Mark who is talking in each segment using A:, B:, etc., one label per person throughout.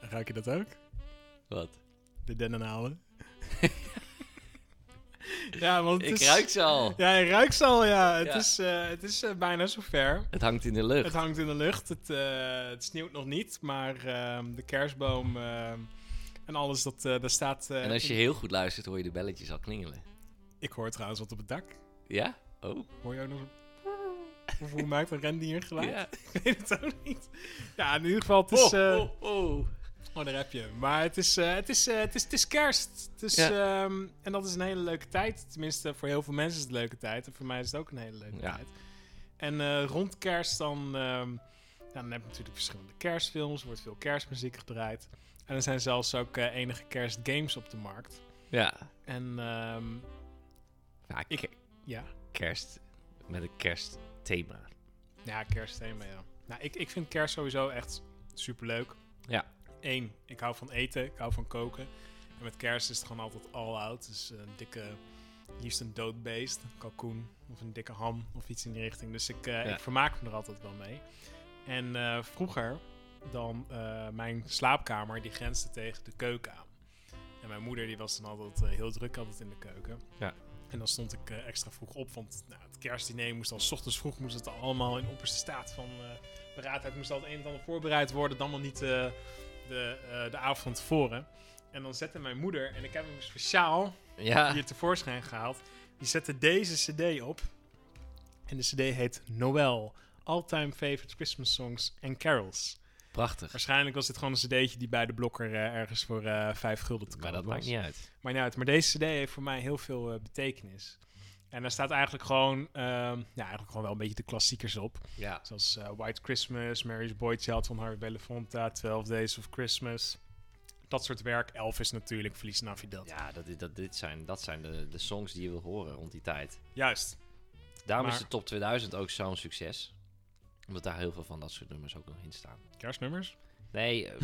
A: Ruik je dat ook?
B: Wat?
A: De dennenhalen. ja, want het
B: Ik
A: is-
B: ruik ze al.
A: Ja, je ruikt ze al, ja. Het
B: Ja.
A: is, eh, het is eh, bijna zover.
B: Het hangt in de lucht.
A: Het hangt in de lucht. Het, eh, het sneeuwt nog niet, maar ehm, de kerstboom ehm, en alles, dat, eh daar staat... eh,
B: En als je
A: ik-
B: heel goed luistert, hoor je de belletjes al klingelen.
A: Ik hoor trouwens wat op het dak.
B: Ja? Oh.
A: Hoor je ook nog... een- Of hoe maakt een rendier geluid?
B: Ja.
A: Ik weet het ook niet. Ja, in ieder geval, het is... eh,
B: oh, oh.
A: Oh, daar heb je. hem. Maar het is, eh, het is, eh, het is, het is kerst. Het is, ehm, en dat is een hele leuke tijd. Tenminste, voor heel veel mensen is het een leuke tijd. En voor mij is het ook een hele leuke
B: Ja.
A: tijd. En eh, rond kerst dan, ehm, ja, dan heb je natuurlijk verschillende kerstfilms. Er wordt veel kerstmuziek gedraaid. En er zijn zelfs ook eh, enige kerstgames op de markt.
B: Ja.
A: En ehm,
B: Vaak
A: Ik-
B: ke-
A: ja,
B: kerst met een kerstthema.
A: ja, kerstthema, ja. Nou, ik, ik vind kerst sowieso echt superleuk.
B: Ja.
A: Eén, ik hou van eten, ik hou van koken. En met kerst is het gewoon altijd all out. Dus eh, een dikke, liefst een dood beest, een kalkoen of een dikke ham of iets in die richting. Dus ik, eh,
B: Ja.
A: ik vermaak me er altijd wel mee. En eh, vroeger dan eh, mijn slaapkamer, die grensde tegen de keuken aan. En mijn moeder die was dan altijd eh, heel druk altijd in de keuken.
B: Ja.
A: En dan stond ik eh, extra vroeg op, want nou, het kerstdiner moest al 's ochtends vroeg, moest het allemaal in opperste staat van eh, beraadheid, moest al het een en ander voorbereid worden, dan wel niet eh, de, eh, de avond van tevoren. En dan zette mijn moeder, en ik heb hem speciaal
B: Ja.
A: hier tevoorschijn gehaald, die zette deze cd op. En de cd heet Noel, All Time Favorite Christmas Songs and Carols.
B: Prachtig.
A: Waarschijnlijk was dit gewoon een cd'tje die bij de blokker eh, ergens voor eh vijf gulden te koop
B: Maar dat
A: was.
B: maakt niet uit.
A: Maar, nou, het, maar deze cd heeft voor mij heel veel eh, betekenis. En daar staat eigenlijk gewoon, ehm, ja, eigenlijk gewoon wel een beetje de klassiekers op.
B: Ja.
A: Zoals eh, White Christmas, Mary's Boy Child van Harvey Belafonte, 12 Days of Christmas. Dat soort werk. Elvis natuurlijk, Verlies Navidad.
B: Ja, dat, dat, dit zijn, dat zijn de, de songs die je wil horen rond die tijd.
A: Juist.
B: Daarom
A: Maar-
B: is de top 2000 ook zo'n succes. Omdat daar heel veel van dat soort nummers ook nog in staan.
A: Kerstnummers?
B: Nee, eh,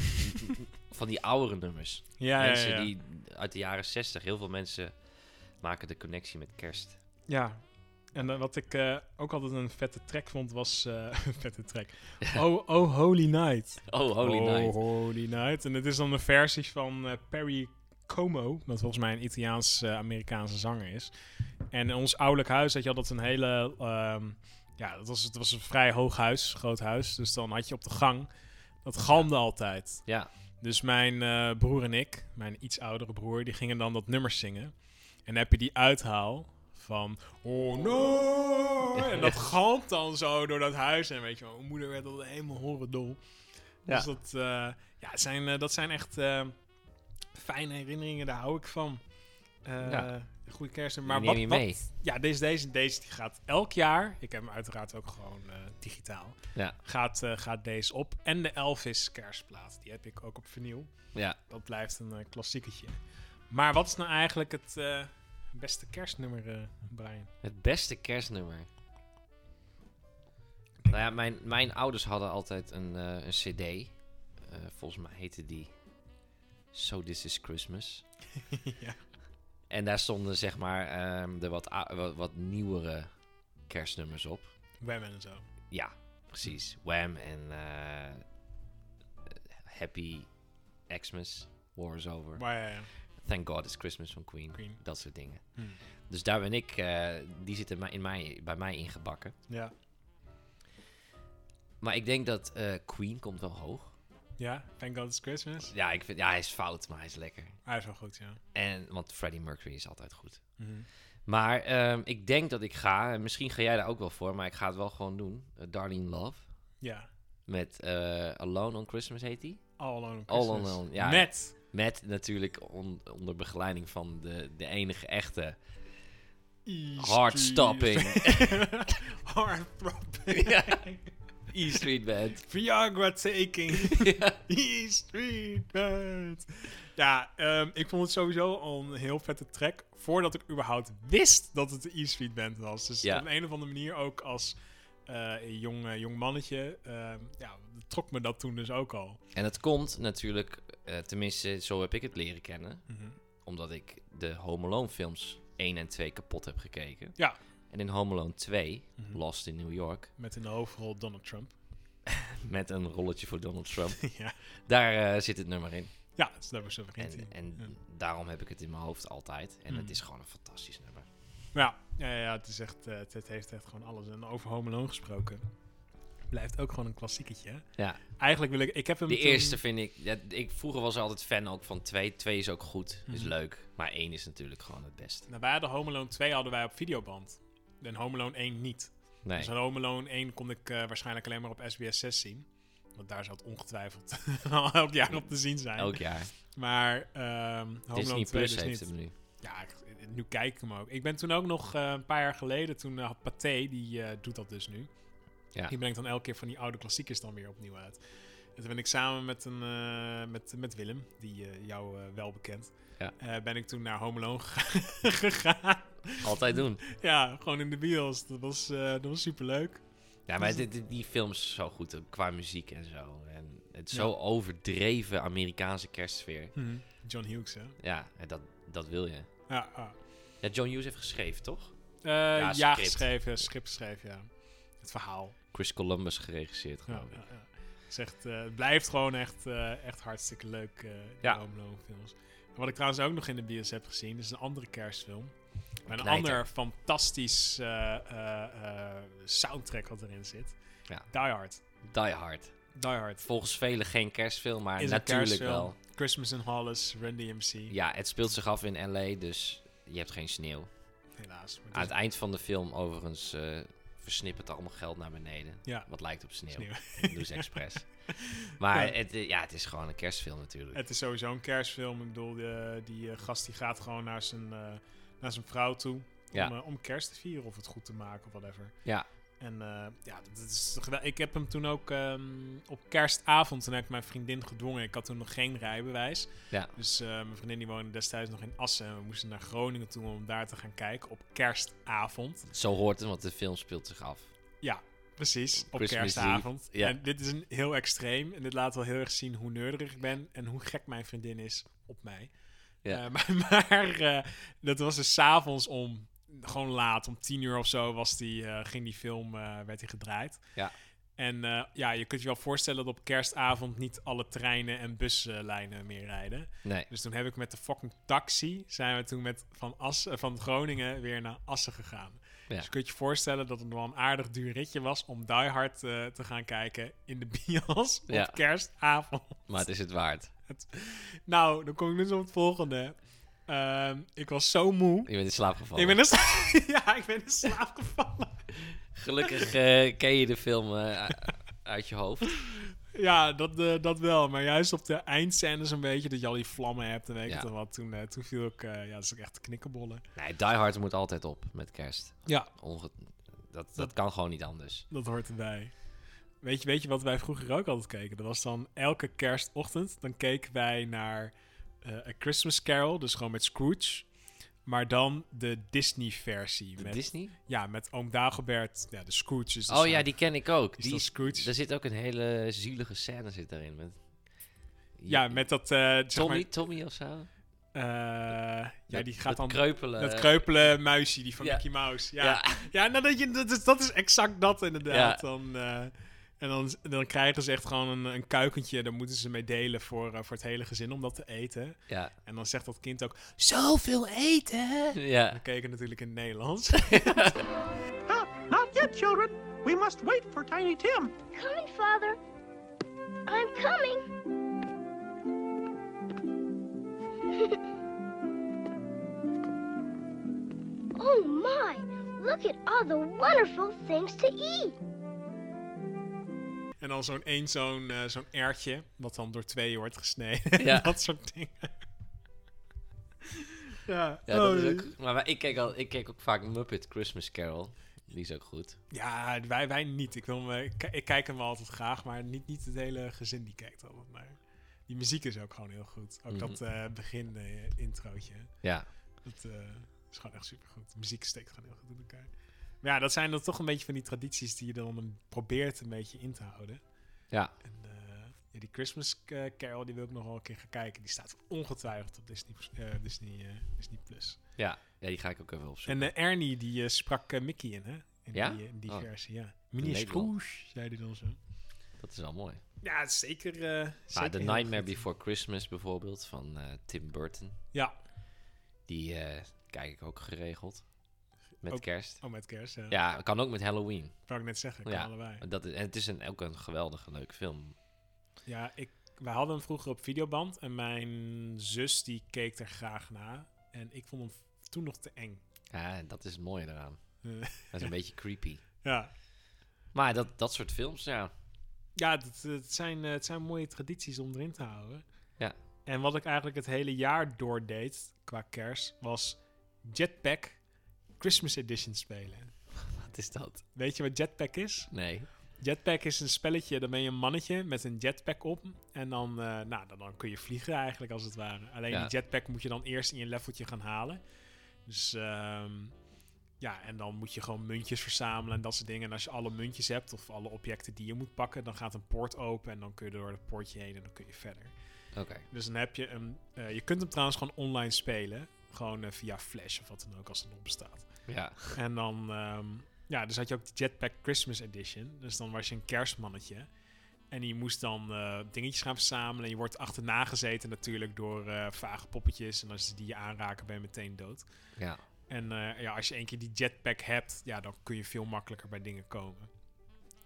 B: van die oudere nummers.
A: Ja, ja,
B: mensen
A: ja.
B: die uit de jaren 60, heel veel mensen maken de connectie met kerst.
A: Ja. En eh, wat ik eh, ook altijd een vette track vond, was... eh, vette track. Oh, oh, Holy Night.
B: Oh, holy
A: oh,
B: night.
A: Holy Night. En het is dan een versie van eh, Perry Como, dat volgens mij een Italiaans-Amerikaanse zanger is. En in ons ouderlijk huis had je altijd een hele... ehm, ja, dat was, het was een vrij hoog huis, groot huis. Dus dan had je op de gang... Dat galmde altijd.
B: Ja,
A: Dus mijn eh, broer en ik, mijn iets oudere broer, die gingen dan dat nummer zingen. En dan heb je die uithaal van... Oh no! En dat galmt dan zo door dat huis. En weet je wel, mijn moeder werd al helemaal horrendol. Dus
B: ja.
A: dat, eh, ja, het zijn, eh, dat zijn echt eh, fijne herinneringen, daar hou ik van. Eh
B: Ja.
A: Goede kerst. Maar
B: maar
A: wat,
B: neem je
A: wat-
B: mee.
A: ja, deze, deze, deze die gaat elk jaar. Ik heb hem uiteraard ook gewoon eh, digitaal.
B: Ja.
A: Gaat, eh, gaat deze op. En de Elvis kerstplaat, die heb ik ook op vernieuw.
B: Ja,
A: Dat blijft een eh klassieketje. Maar wat is nou eigenlijk het eh, beste kerstnummer, eh, Brian?
B: het beste kerstnummer. Nou ja, mijn, mijn ouders hadden altijd een, eh, een cd. Eh, volgens mij heette die So This Is Christmas.
A: ja.
B: En daar stonden zeg maar ehm, de wat, ou- wat, wat nieuwere kerstnummers op.
A: Wem en zo.
B: Ja, precies. Wham en eh, Happy Xmas, War is Over.
A: Maar ja, ja.
B: Thank God It's Christmas van Queen.
A: eh, Queen.
B: Dat soort dingen.
A: Hmm.
B: Dus daar ben ik, eh, die zit in mij, in mij, bij mij ingebakken.
A: ja.
B: Maar ik denk dat eh, Queen komt wel hoog.
A: Ja, Thank God It's Christmas.
B: Ja, ik vind, ja, hij is fout, maar hij is lekker.
A: Hij is wel goed, ja.
B: En, want Freddie Mercury is altijd goed.
A: Mhm.
B: Maar ehm, ik denk dat ik ga, en misschien ga jij daar ook wel voor, maar ik ga het wel gewoon doen. Eh, Darlene Love.
A: Ja.
B: Met eh, Alone on Christmas heet die.
A: All Alone on
B: All
A: Christmas.
B: Alone, ja.
A: Met.
B: Met natuurlijk on- onder begeleiding van de, de enige echte. Hard stopping.
A: Hardstopping.
B: Ja. E-Street Band.
A: Viagra taking.
B: ja.
A: E-Street Band. Ja, ehm, ik vond het sowieso al een heel vette track. Voordat ik überhaupt wist dat het de E-Street Band was. Dus
B: Ja.
A: op een of andere manier ook als eh, jong, eh, jong mannetje. ehm, ja, trok me dat toen dus ook al.
B: En dat komt natuurlijk, eh, tenminste zo heb ik het leren kennen.
A: Mhm.
B: Omdat ik de Home Alone films 1 en 2 kapot heb gekeken.
A: Ja.
B: En in Home Alone 2,
A: Mhm.
B: Lost in New York,
A: Met in de hoofdrol Donald Trump.
B: met een rolletje voor Donald Trump.
A: ja.
B: Daar eh, zit het nummer in.
A: ja, dus dat is nummer 17.
B: En, eh, en
A: Ja.
B: daarom heb ik het in mijn hoofd altijd. En
A: Mm.
B: het is gewoon een fantastisch nummer.
A: Ja, ja, ja, ja, het, is echt, eh, het, het heeft echt gewoon alles. En over Home Alone gesproken. Blijft ook gewoon een klassieketje. hè?
B: Ja.
A: Eigenlijk wil ik... Ik heb hem
B: De
A: toen-
B: eerste vind ik, ja, ik... Vroeger was ik altijd fan ook van twee. Twee is ook goed, is
A: Mhm.
B: leuk. Maar één is natuurlijk gewoon het beste.
A: Nou, wij hadden Home Alone 2 hadden wij op videoband. En Home Alone 1 niet.
B: Nee.
A: Dus Home Alone 1 kon ik eh, waarschijnlijk alleen maar op SBS 6 zien. Want daar zou het ongetwijfeld al elk jaar op te zien zijn.
B: Elk jaar.
A: Maar ehm Home Alone 2
B: Disney Plus
A: dus
B: heeft
A: niet.
B: hem nu.
A: Ja, ik- nu kijk ik hem ook. Ik ben toen ook nog eh, een paar jaar geleden, toen eh, had Pathé, die eh, doet dat dus nu.
B: Ja.
A: Die brengt dan elke keer van die oude klassiekers dan weer opnieuw uit. En toen ben ik samen met, een, eh, met, met Willem, die eh, jou eh, wel bekend,
B: Ja.
A: eh, ben ik toen naar Home Alone gegaan.
B: Altijd doen.
A: ja, gewoon in de bios. Dat was, eh, dat was superleuk.
B: Ja,
A: Dus
B: maar
A: het-
B: dit- dit- die film is zo goed eh, qua muziek en zo. En het zo overdreven Amerikaanse kerstsfeer.
A: Mhm. John Hughes, hè?
B: Ja, en dat, dat wil je.
A: Ja, ah.
B: Ja, John Hughes heeft geschreven, toch?
A: Eh, ja,
B: script.
A: geschreven, script geschreven, ja. Het verhaal.
B: Chris Columbus geregisseerd,
A: Ja,
B: geloof ik.
A: ja, ja. Het, is echt, eh, het blijft gewoon echt, eh, echt hartstikke leuk, eh die
B: Ja.
A: Home Alone films. En wat ik trouwens ook nog in de bios heb gezien, is een andere kerstfilm. Maar een
B: knijter.
A: ander fantastisch eh, eh, eh, soundtrack wat erin zit.
B: Ja.
A: Die Hard.
B: Die Hard.
A: Die Hard.
B: Volgens velen geen kerstfilm, maar
A: Is een
B: natuurlijk
A: kerstfilm.
B: wel.
A: Christmas in Hollis, Run DMC,
B: Ja, het speelt zich af in L.A., dus je hebt geen sneeuw.
A: helaas. Maar
B: Aan
A: het
B: het eind van de film overigens eh, versnippert allemaal geld naar beneden.
A: Ja.
B: Wat lijkt op sneeuw.
A: is
B: sneeuw.
A: nieuw.
B: Dat doen ze expres. Maar
A: Ja.
B: Het, eh, ja, het is gewoon een kerstfilm natuurlijk.
A: Het is sowieso een kerstfilm. Ik bedoel, de- die eh, gast die gaat gewoon naar zijn, eh, naar zijn vrouw toe.
B: Ja.
A: Om, eh, om kerst te vieren of het goed te maken of whatever.
B: Ja.
A: En eh, ja, dat is gewel- ik heb hem toen ook ehm, op kerstavond, toen heb ik mijn vriendin gedwongen. Ik had toen nog geen rijbewijs.
B: Ja.
A: Dus eh, mijn vriendin die woonde destijds nog in Assen. En we moesten naar Groningen toe om daar te gaan kijken op kerstavond.
B: Zo hoort het, want de film speelt zich af.
A: Precies, op
B: Christmas
A: kerstavond.
B: Eve, ja.
A: En dit is een heel extreem. En dit laat wel heel erg zien hoe nerdig ik ben en hoe gek mijn vriendin is op mij.
B: Ja.
A: Eh, maar maar, eh, dat was dus s'avonds om, gewoon laat, om tien uur of zo was die, eh, ging die film, eh, werd die gedraaid.
B: Ja.
A: En eh, ja, je kunt je wel voorstellen dat op kerstavond niet alle treinen en buslijnen meer rijden.
B: Nee.
A: Dus toen heb ik met de fucking taxi zijn we toen met van, Assen, eh, van Groningen weer naar Assen gegaan.
B: Ja.
A: Dus je kunt je voorstellen dat het wel een aardig duur ritje was om Die Hard eh, te gaan kijken in de bios
B: Ja.
A: op kerstavond.
B: Maar het is het waard.
A: Nou, dan kom ik dus op het volgende. Ehm, ik was zo moe.
B: Je bent in slaap gevallen.
A: Ik ben, in sla- ja, ik ben in slaap gevallen.
B: Gelukkig eh, ken je de film eh, uit je hoofd.
A: Ja, dat, eh, dat wel. Maar juist op de eindscènes een beetje, dat je al die vlammen hebt en weet ik
B: Ja.
A: het wat. Toen, eh, toen viel ik, eh ja, dat is ook echt knikkenbollen.
B: Nee, Die Hard moet altijd op met kerst.
A: Ja,
B: Onge- dat, dat kan gewoon niet anders.
A: Dat hoort erbij. Weet je, weet je wat wij vroeger ook altijd keken? Dat was dan elke kerstochtend. Dan keken wij naar eh A Christmas Carol, dus gewoon met Scrooge. Maar dan de Disney-versie.
B: De
A: Met,
B: Disney?
A: ja, met oom Dagobert. Ja, de Scrooge is dus
B: Oh
A: zo-
B: ja, die ken ik ook.
A: is
B: Die
A: dat
B: is,
A: Scrooge?
B: daar zit ook een hele zielige scène zit daarin. Met,
A: Ja, met dat... eh, zeg
B: Tommy,
A: maar,
B: Tommy of zo?
A: eh, ja,
B: Dat-
A: die gaat
B: dat
A: dan...
B: kreupelen.
A: Dat kreupele muisje, die van
B: Eh, Ja.
A: Mickey Mouse. Ja, ja.
B: Ja,
A: nou, dat, je, dat, is, dat is exact dat inderdaad.
B: Ja.
A: Dan, eh, en dan, dan krijgen ze echt gewoon een, een kuikentje. Daar moeten ze mee delen voor, eh, voor het hele gezin om dat te eten.
B: ja,
A: En dan zegt dat kind ook: Zoveel eten!
B: ja.
A: We keken natuurlijk in het Nederlands.
C: Ah, not yet, children. We must wait for Tiny Tim.
D: Coming, Father. I'm coming. oh my, look at all the wonderful things to eat.
A: en dan zo'n één zo'n eh zo'n ertje, wat dan door twee wordt gesneden.
B: Ja.
A: dat soort dingen. ja.
B: Ja, dat
A: Oh,
B: is ook, maar wij- ik kijk, al, ik kijk ook vaak Muppet Christmas Carol. Die is ook goed.
A: ja, wij, wij niet. Ik, wil me, ik, ki- ik kijk hem wel altijd graag, maar niet, niet het hele gezin die kijkt altijd naar. Die muziek is ook gewoon heel goed.
B: Mhm.
A: Ook dat eh, begin eh, introotje.
B: Ja,
A: Dat eh, is gewoon echt supergoed. De muziek steekt gewoon heel goed in elkaar. Maar ja, dat zijn dan toch een beetje van die tradities die je dan een- probeert een beetje in te houden.
B: ja.
A: En eh, ja, die Christmas eh, Carol, die wil ik nog wel een keer gaan kijken. Die staat ongetwijfeld op Disney, eh, Disney, eh, Disney Plus.
B: Ja, ja die ga ik ook even opzoeken.
A: En eh, Ernie, die eh, sprak eh, Mickey in, hè? In
B: Ja?
A: die, in die
B: Oh.
A: versie, ja. Meneer
B: Nederland.
A: Scrooge, zei hij dan zo.
B: Dat is wel mooi.
A: Ja, het is zeker. eh,
B: Maar
A: zeker
B: Ah, The
A: heel
B: Nightmare
A: goed.
B: Before Christmas bijvoorbeeld van eh, Tim Burton.
A: Ja,
B: Die eh, kijk ik ook geregeld. Met
A: Ook-
B: kerst.
A: oh, met kerst. Ja,
B: Ja, kan ook met Halloween.
A: Wou ik net zeggen, kan
B: Ja.
A: allebei.
B: Dat is, en het is een, ook een geweldige, leuke film.
A: Ja, ik, wij hadden hem vroeger op videoband en mijn zus die keek er graag naar. En ik vond hem v- toen nog te eng.
B: Ja, dat is het mooie eraan.
A: Eh,
B: Dat is een beetje creepy.
A: ja,
B: Maar dat, dat soort films, ja.
A: ja het, het, zijn, eh, het zijn mooie tradities om erin te houden.
B: Ja.
A: En wat ik eigenlijk het hele jaar door deed qua kerst was Jetpack Christmas Edition spelen.
B: Wat is dat?
A: Weet je wat Jetpack is?
B: Nee.
A: Jetpack is een spelletje, dan ben je een mannetje met een jetpack op. En dan, eh, nou, dan, dan kun je vliegen eigenlijk als het ware. Alleen
B: Ja.
A: die jetpack moet je dan eerst in je leveltje gaan halen. Dus ehm, ja, en dan moet je gewoon muntjes verzamelen en dat soort dingen. En als je alle muntjes hebt of alle objecten die je moet pakken, dan gaat een poort open. En dan kun je door het poortje heen en dan kun je verder.
B: Oké.
A: Dus dan heb je een. eh, je kunt hem trouwens gewoon online spelen. Gewoon eh, via Flash of wat dan ook als het nog bestaat.
B: Ja.
A: En dan, ehm, ja, dus had je ook de Jetpack Christmas Edition. Dus dan was je een kerstmannetje. En je moest dan eh, dingetjes gaan verzamelen. En je wordt achterna gezeten natuurlijk door eh, vage poppetjes. En als ze die je aanraken, ben je meteen dood.
B: Ja.
A: En eh, ja, als je één keer die jetpack hebt, ja, dan kun je veel makkelijker bij dingen komen.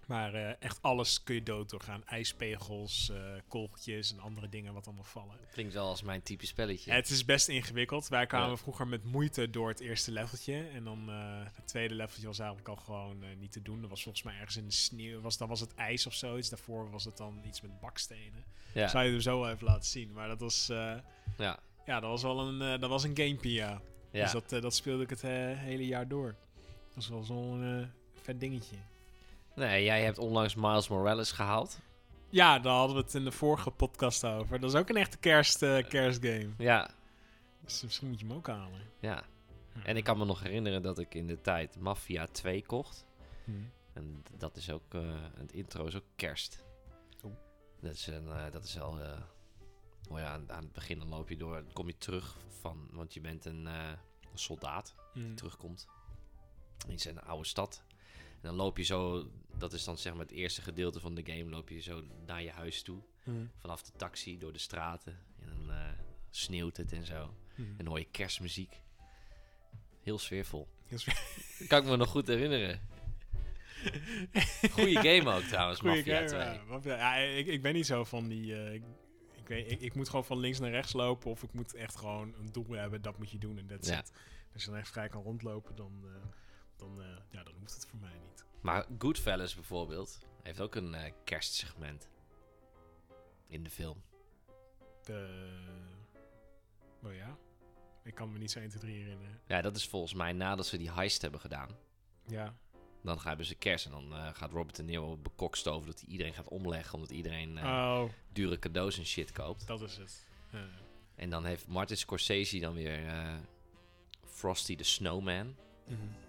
A: Maar eh, echt alles kun je dood doorgaan. Ijspegels, eh, kolkjes en andere dingen wat allemaal vallen.
B: Klinkt wel als mijn type spelletje.
A: Het is best ingewikkeld. Wij kwamen
B: Ja.
A: vroeger met moeite door het eerste leveltje. En dan eh, het tweede leveltje was eigenlijk al gewoon eh, niet te doen. Dat was volgens mij ergens in de sneeuw. Was, dan was het ijs of zoiets. Daarvoor was het dan iets met bakstenen.
B: ja.
A: Zou je er zo wel even laten zien. Maar dat was, eh,
B: ja.
A: ja, dat was wel een, eh, dat was een gamepie, ja.
B: Ja.
A: Dus dat, eh, dat speelde ik het eh, hele jaar door. Dat was wel zo'n eh, vet dingetje.
B: Nee, jij hebt onlangs Miles Morales gehaald.
A: Ja, daar hadden we het in de vorige podcast over. Dat is ook een echte kerst, eh, kerstgame.
B: Ja.
A: Dus misschien moet je hem ook halen.
B: Ja.
A: Hm.
B: En ik kan me nog herinneren dat ik in de tijd Mafia 2 kocht.
A: Hm.
B: En d- dat is ook, eh, het intro is ook kerst.
A: Oeh.
B: Dat is, een, eh, dat is al, eh, oh ja, aan, aan het begin dan loop je door, dan kom je terug van, want je bent een eh, een soldaat
A: Hm.
B: die terugkomt in zijn oude stad. En dan loop je zo, dat is dan zeg maar het eerste gedeelte van de game, loop je zo naar je huis toe.
A: Hm.
B: Vanaf de taxi, door de straten. En dan eh, sneeuwt het en zo.
A: Hm.
B: En dan hoor je kerstmuziek. Heel sfeervol.
A: Heel
B: Kan ik me nog goed herinneren. Goeie game ook trouwens,
A: Goeie
B: Mafia
A: game,
B: 2.
A: ja. Mafia- Ja, ik, ik ben niet zo van die... eh, ik, ik, weet, ik, ik moet gewoon van links naar rechts lopen. Of ik moet echt gewoon een doel hebben. Dat moet je doen en dat
B: Ja.
A: zit. Als je dan echt vrij kan rondlopen, dan, eh, dan, eh, ja, dan hoeft het voor mij niet.
B: Maar Goodfellas bijvoorbeeld heeft ook een eh, kerstsegment. In de film.
A: Eh oh ja? Ik kan me niet zo 1, 2, 3 herinneren.
B: Ja, dat is volgens mij nadat ze die heist hebben gedaan.
A: Ja.
B: Dan hebben ze kerst en dan eh, gaat Robert De Niro bekokst over dat hij iedereen gaat omleggen. Omdat iedereen eh,
A: Oh,
B: dure cadeaus en shit koopt.
A: dat is het. Eh,
B: En dan heeft Martin Scorsese dan weer eh, Frosty the Snowman.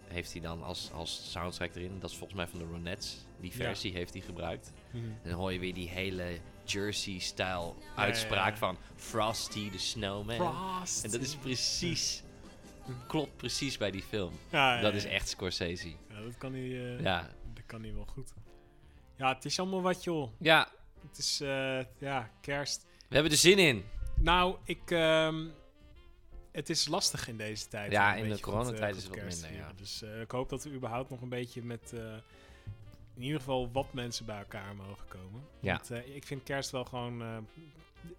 B: Heeft hij dan als, als soundtrack erin. Dat is volgens mij van de Ronettes. Die
A: Ja.
B: versie heeft hij gebruikt.
A: mhm.
B: En dan hoor je weer die hele Jersey-style uitspraak
A: ja.
B: van Frosty the Snowman.
A: Frost.
B: En dat is precies... Klopt precies bij die film.
A: Ja, ja,
B: dat
A: ja.
B: is echt Scorsese.
A: Ja, dat kan hij, eh,
B: Ja.
A: dat kan hij wel goed. Ja, het is allemaal wat, joh.
B: Ja,
A: Het is, eh, ja, kerst.
B: we hebben er zin in.
A: Nou, ik. ehm, het is lastig in deze tijd.
B: Ja,
A: om een
B: in de
A: beetje
B: coronatijd
A: goed, eh,
B: is het
A: goed
B: wat
A: kerst te
B: minder, ja.
A: vieren. Dus eh, ik hoop dat we überhaupt nog een beetje met. eh, in ieder geval wat mensen bij elkaar mogen komen.
B: Ja.
A: Want, eh, ik vind kerst wel gewoon. eh,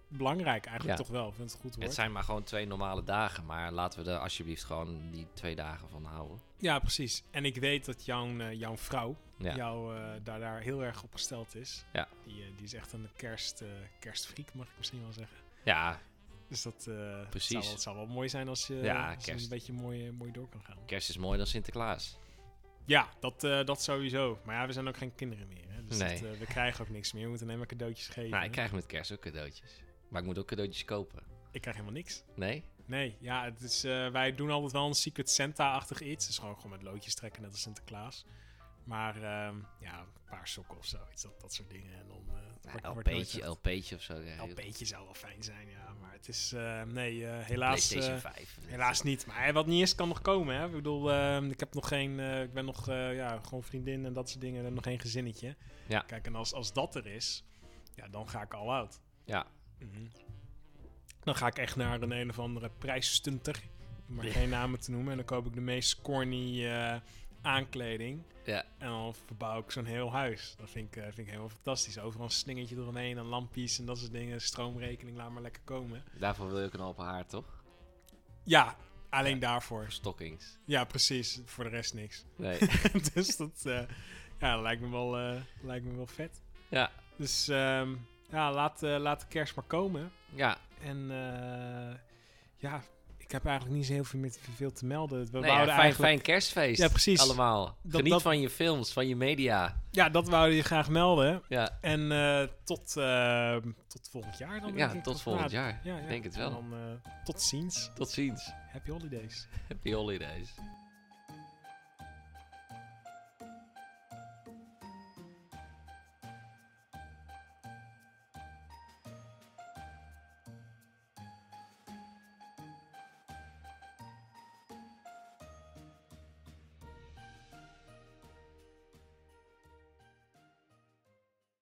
A: belangrijk eigenlijk
B: Ja.
A: toch wel. Ik vind het goed woord.
B: Het zijn maar gewoon twee normale dagen. Maar laten we er alsjeblieft gewoon die twee dagen van houden.
A: Ja, precies. En ik weet dat jouw, eh, jouw vrouw.
B: Ja.
A: Jou eh, daar, daar heel erg op gesteld is.
B: Ja.
A: Die, eh, die is echt een kerst, eh kerstfreak, mag ik misschien wel zeggen.
B: Ja,
A: Dus dat eh, het
B: Precies.
A: Zou, wel- het zou wel mooi zijn als je,
B: Ja,
A: als je
B: kerst.
A: een beetje mooi, eh, mooi door kan gaan.
B: kerst is mooier dan Sinterklaas.
A: Ja, dat, eh, dat sowieso. Maar ja, we zijn ook geen kinderen meer. Hè? Dus
B: Nee.
A: dat, eh, we krijgen ook niks meer. We moeten alleen maar cadeautjes geven.
B: Nou, ik krijg met kerst ook cadeautjes. Maar ik moet ook cadeautjes kopen.
A: Ik krijg helemaal niks.
B: Nee?
A: Nee, ja, het is, eh, wij doen altijd wel een Secret Santa-achtig iets. Het is gewoon, gewoon met loodjes trekken, net als Sinterklaas. Maar ehm, ja, een paar sokken of zoiets, dat, dat soort dingen. En dan, eh, wordt-
B: Ja,
A: wordt nooit
B: LP'tje,
A: echt-
B: LP'tje of zo. Ja, heel-
A: LP'tje zou wel fijn zijn, ja. Maar het is, eh, nee, eh, helaas,
B: PlayStation
A: eh,
B: 5.
A: helaas niet. Maar eh, wat niet is, kan nog komen, hè. Ik bedoel, eh, ik heb nog geen, eh, ik ben nog, eh, ja, gewoon vriendin en dat soort dingen. En nog geen gezinnetje.
B: Ja.
A: Kijk, en als, als dat er is, ja, dan ga ik al out.
B: Ja,
A: Mhm. Dan ga ik echt naar een een of andere prijsstunter. Om maar geen namen te noemen. En dan koop ik de meest corny eh, aankleding.
B: ja.
A: En dan verbouw ik zo'n heel huis. Dat vind ik, eh, vind ik helemaal fantastisch. Overal een slingertje eromheen en lampjes en dat soort dingen. Stroomrekening, laat maar lekker komen.
B: Daarvoor wil je ook een open haard, toch?
A: Ja, alleen daarvoor.
B: Stockings.
A: Ja, precies. Voor de rest niks.
B: Nee.
A: dus dat eh, ja, dat lijkt, me wel, eh, lijkt me wel vet.
B: ja.
A: Dus ehm, ja, laat, eh, laat de kerst maar komen.
B: Ja.
A: En eh, ja, ik heb eigenlijk niet zo heel veel meer te, veel te melden. We
B: Nee, ja,
A: wouden
B: fijn,
A: eigenlijk...
B: fijn kerstfeest.
A: Ja, precies.
B: Allemaal. Geniet
A: dat-
B: van je films, van je media.
A: Ja, dat wouden je graag melden.
B: Ja,
A: En eh, tot, eh, tot volgend jaar dan. denk
B: ja
A: ik.
B: tot
A: Of
B: volgend
A: na-
B: jaar.
A: Ja, ja.
B: Ik denk het
A: En
B: wel.
A: dan eh, tot ziens.
B: Tot ziens.
A: Happy holidays.
B: Happy holidays.